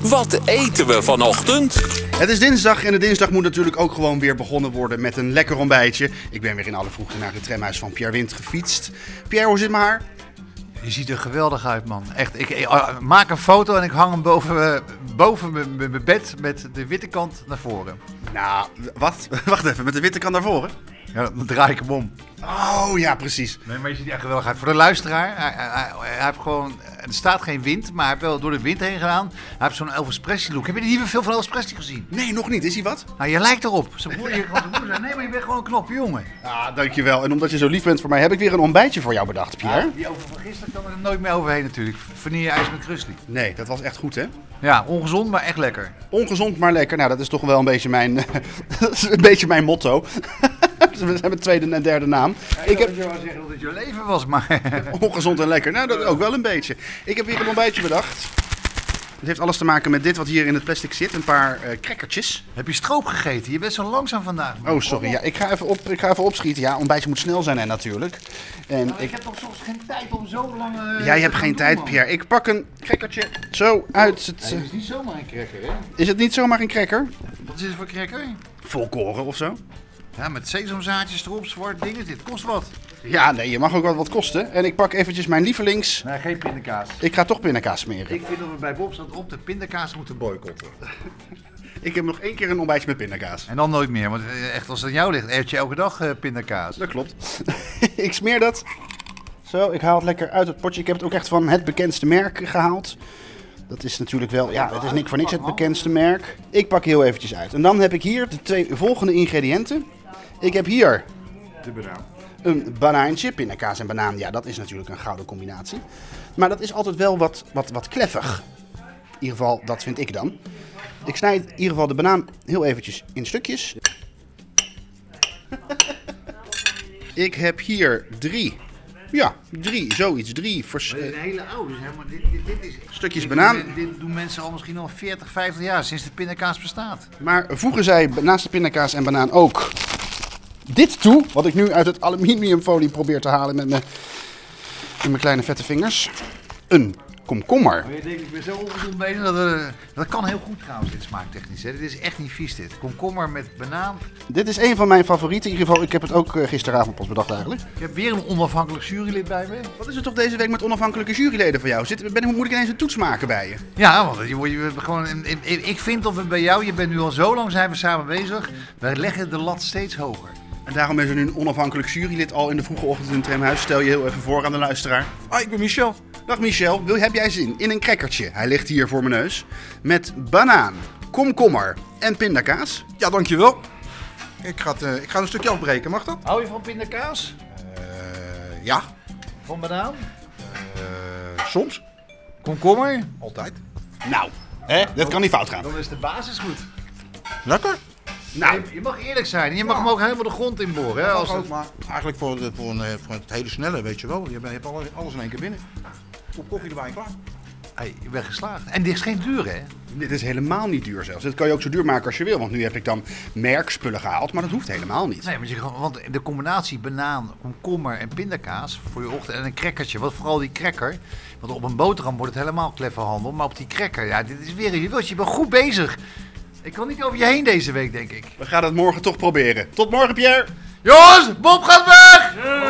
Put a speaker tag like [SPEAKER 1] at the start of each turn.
[SPEAKER 1] Wat eten we vanochtend?
[SPEAKER 2] Het is dinsdag en de dinsdag moet natuurlijk ook gewoon weer begonnen worden met een lekker ontbijtje. Ik ben weer in alle vroegte naar het tramhuis van Pierre Wind gefietst. Pierre, hoe zit mijn haar?
[SPEAKER 3] Je ziet er geweldig uit, man. Echt, ik, ik- ah, maak een foto en ik hang hem boven, eh, boven mijn- mijn mijn bed met de witte kant naar voren.
[SPEAKER 2] Nou, wat? Wacht even, met de witte kant naar voren?
[SPEAKER 3] Ja, dan draai ik hem om.
[SPEAKER 2] Oh ja, precies.
[SPEAKER 3] Nee, maar je ziet er echt geweldig uit. Voor de luisteraar, hij, hij, hij- hij heeft gewoon... Er staat geen wind, maar hij heeft wel door de wind heen gedaan. Hij heeft zo'n Elvis Presley look. Heb je niet veel van Elvis Presley gezien?
[SPEAKER 2] Nee, nog niet. Is hij wat?
[SPEAKER 3] Nou, je lijkt erop. Zijn broer, je kan zijn broer zijn. Nee, maar je bent gewoon een knappe jongen.
[SPEAKER 2] Ah, dankjewel. En omdat je zo lief bent voor mij, heb ik weer een ontbijtje voor jou bedacht, Pierre.
[SPEAKER 3] Die over van gisteren kan er nooit meer overheen natuurlijk. Vanille ijs met crusty.
[SPEAKER 2] Nee, dat was echt goed, hè?
[SPEAKER 3] Ja, ongezond, maar echt lekker.
[SPEAKER 2] Ongezond, maar lekker. Nou, dat is toch wel een beetje mijn, dat is een beetje mijn motto. We zijn mijn tweede en derde naam. Ik heb
[SPEAKER 3] je wel zeggen dat het je leven was, maar...
[SPEAKER 2] ongezond en lekker. Nou, dat ook wel een beetje. Ik heb weer een ontbijtje bedacht. Het heeft alles te maken met dit wat hier in het plastic zit. Een paar eh crackertjes.
[SPEAKER 3] Heb je stroop gegeten? Je bent zo langzaam vandaag. man.
[SPEAKER 2] Oh, sorry. Ja, ik, ga even op, ik ga even opschieten. Ja, ontbijtje moet snel zijn hè, natuurlijk. En
[SPEAKER 3] Nou, ik
[SPEAKER 2] ik,
[SPEAKER 3] heb toch soms geen tijd om zo lang... eh,
[SPEAKER 2] jij
[SPEAKER 3] te
[SPEAKER 2] hebt
[SPEAKER 3] gaan
[SPEAKER 2] geen
[SPEAKER 3] doen,
[SPEAKER 2] tijd,
[SPEAKER 3] man.
[SPEAKER 2] Pierre. Ik pak een crackertje zo uit het... eh,
[SPEAKER 3] Hey, Het is niet zomaar een cracker, hè?
[SPEAKER 2] Is het niet zomaar een cracker?
[SPEAKER 3] Wat is het voor cracker?
[SPEAKER 2] Volkoren of zo?
[SPEAKER 3] Ja, met sesamzaadjes erop, zwart dingen. Dit kost wat.
[SPEAKER 2] Ja, nee, je mag ook wel wat kosten. En ik pak eventjes mijn lievelings.
[SPEAKER 3] Nee, geen pindakaas.
[SPEAKER 2] Ik ga toch pindakaas smeren. Ik,
[SPEAKER 3] Ik vind dat we bij Bob's dat op de pindakaas moeten boycotten.
[SPEAKER 2] ik heb nog één keer een ontbijtje met pindakaas.
[SPEAKER 3] En dan nooit meer, want eh, echt als het aan jou ligt, eet je elke dag eh, pindakaas.
[SPEAKER 2] Dat klopt. ik smeer dat. Zo, ik haal het lekker uit het potje. Ik heb het ook echt van het bekendste merk gehaald. Dat is natuurlijk wel, ja, het is niks voor niks het bekendste merk. Ik pak heel eventjes uit. En dan heb ik hier de twee volgende ingrediënten. Ik heb hier
[SPEAKER 3] De banaan.
[SPEAKER 2] een banaantje. Pindakaas en banaan, ja, dat is natuurlijk een gouden combinatie. Maar dat is altijd wel wat, wat, wat kleffig. In ieder geval, dat vind ik dan. Ik snijd in ieder geval de banaan heel eventjes in stukjes. ik heb hier drie. Ja, drie, zoiets. Drie vers-
[SPEAKER 3] Een
[SPEAKER 2] eh,
[SPEAKER 3] hele oude, hè? Maar dit, dit, dit is...
[SPEAKER 2] Stukjes
[SPEAKER 3] dit
[SPEAKER 2] banaan.
[SPEAKER 3] doen- dit doen mensen al misschien al 40, 50 jaar, sinds de pindakaas bestaat.
[SPEAKER 2] Maar voegen zij naast de pindakaas en banaan ook dit toe. Wat ik nu uit het aluminiumfolie probeer te halen met mijn, met mijn kleine vette vingers. Een komkommer.
[SPEAKER 3] Maar je denkt, ik ben zo ongezond bezig. Dat, eh, dat kan heel goed trouwens, dit smaaktechnisch. Hè. Dit is echt niet vies dit. Komkommer met banaan.
[SPEAKER 2] Dit is een van mijn favorieten. In ieder geval, ik heb het ook eh, gisteravond pas bedacht eigenlijk.
[SPEAKER 3] Ik heb weer een onafhankelijk jurylid bij me.
[SPEAKER 2] Wat is er toch deze week met onafhankelijke juryleden voor jou? Zit, ben, moet ik ineens een toets maken bij je?
[SPEAKER 3] Ja, want je, wordt- je, wordt gewoon, in- in- in- ik vind dat we bij jou, je bent nu al zo lang zijn we samen bezig. Wij leggen de lat steeds hoger.
[SPEAKER 2] En daarom is er nu een onafhankelijk jurylid al in de vroege ochtend in het tramhuis. Stel je heel even voor aan de luisteraar.
[SPEAKER 4] Ah, ik ben Michel.
[SPEAKER 2] Dag Michel, wil, heb jij zin in een crackertje? Hij ligt hier voor mijn neus. Met banaan, komkommer en pindakaas.
[SPEAKER 4] Ja, dankjewel. Ik ga, het, eh, ik ga een stukje afbreken, mag dat?
[SPEAKER 3] Hou je van pindakaas?
[SPEAKER 4] Eh, ja.
[SPEAKER 3] Van banaan?
[SPEAKER 4] Eh, soms.
[SPEAKER 3] Komkommer?
[SPEAKER 4] Altijd.
[SPEAKER 2] Nou, hè? dat kan niet fout gaan.
[SPEAKER 3] Dan is de basis goed.
[SPEAKER 4] Lekker.
[SPEAKER 2] Nou,
[SPEAKER 3] Je, je mag eerlijk zijn. en Je mag hem ook helemaal de grond inboren. Hè, als
[SPEAKER 4] Mag ook,
[SPEAKER 3] het-
[SPEAKER 4] maar eigenlijk voor, de- voor, een, eh, voor het hele snelle, weet je wel. Je bent- je hebt alle- alles in één keer binnen. Op koffie erbij en klaar.
[SPEAKER 3] Hey, je bent geslaagd. En dit is geen duur, hè?
[SPEAKER 2] dit is helemaal niet duur zelfs. Dit kan je ook zo duur maken als je wil. Want nu heb ik dan merkspullen gehaald, maar dat hoeft helemaal niet.
[SPEAKER 3] Nee, want, je, want de combinatie banaan, komkommer en pindakaas voor je ochtend en een crackertje. Wat vooral die cracker. Want op een boterham wordt het helemaal klefferhandel. Maar op die cracker, ja, dit is weer een juweeltje. Je bent goed bezig. Ik kan niet over je heen deze week, denk ik.
[SPEAKER 2] We gaan het morgen toch proberen. Tot morgen, Pierre!
[SPEAKER 3] Jongens, Bob gaat weg!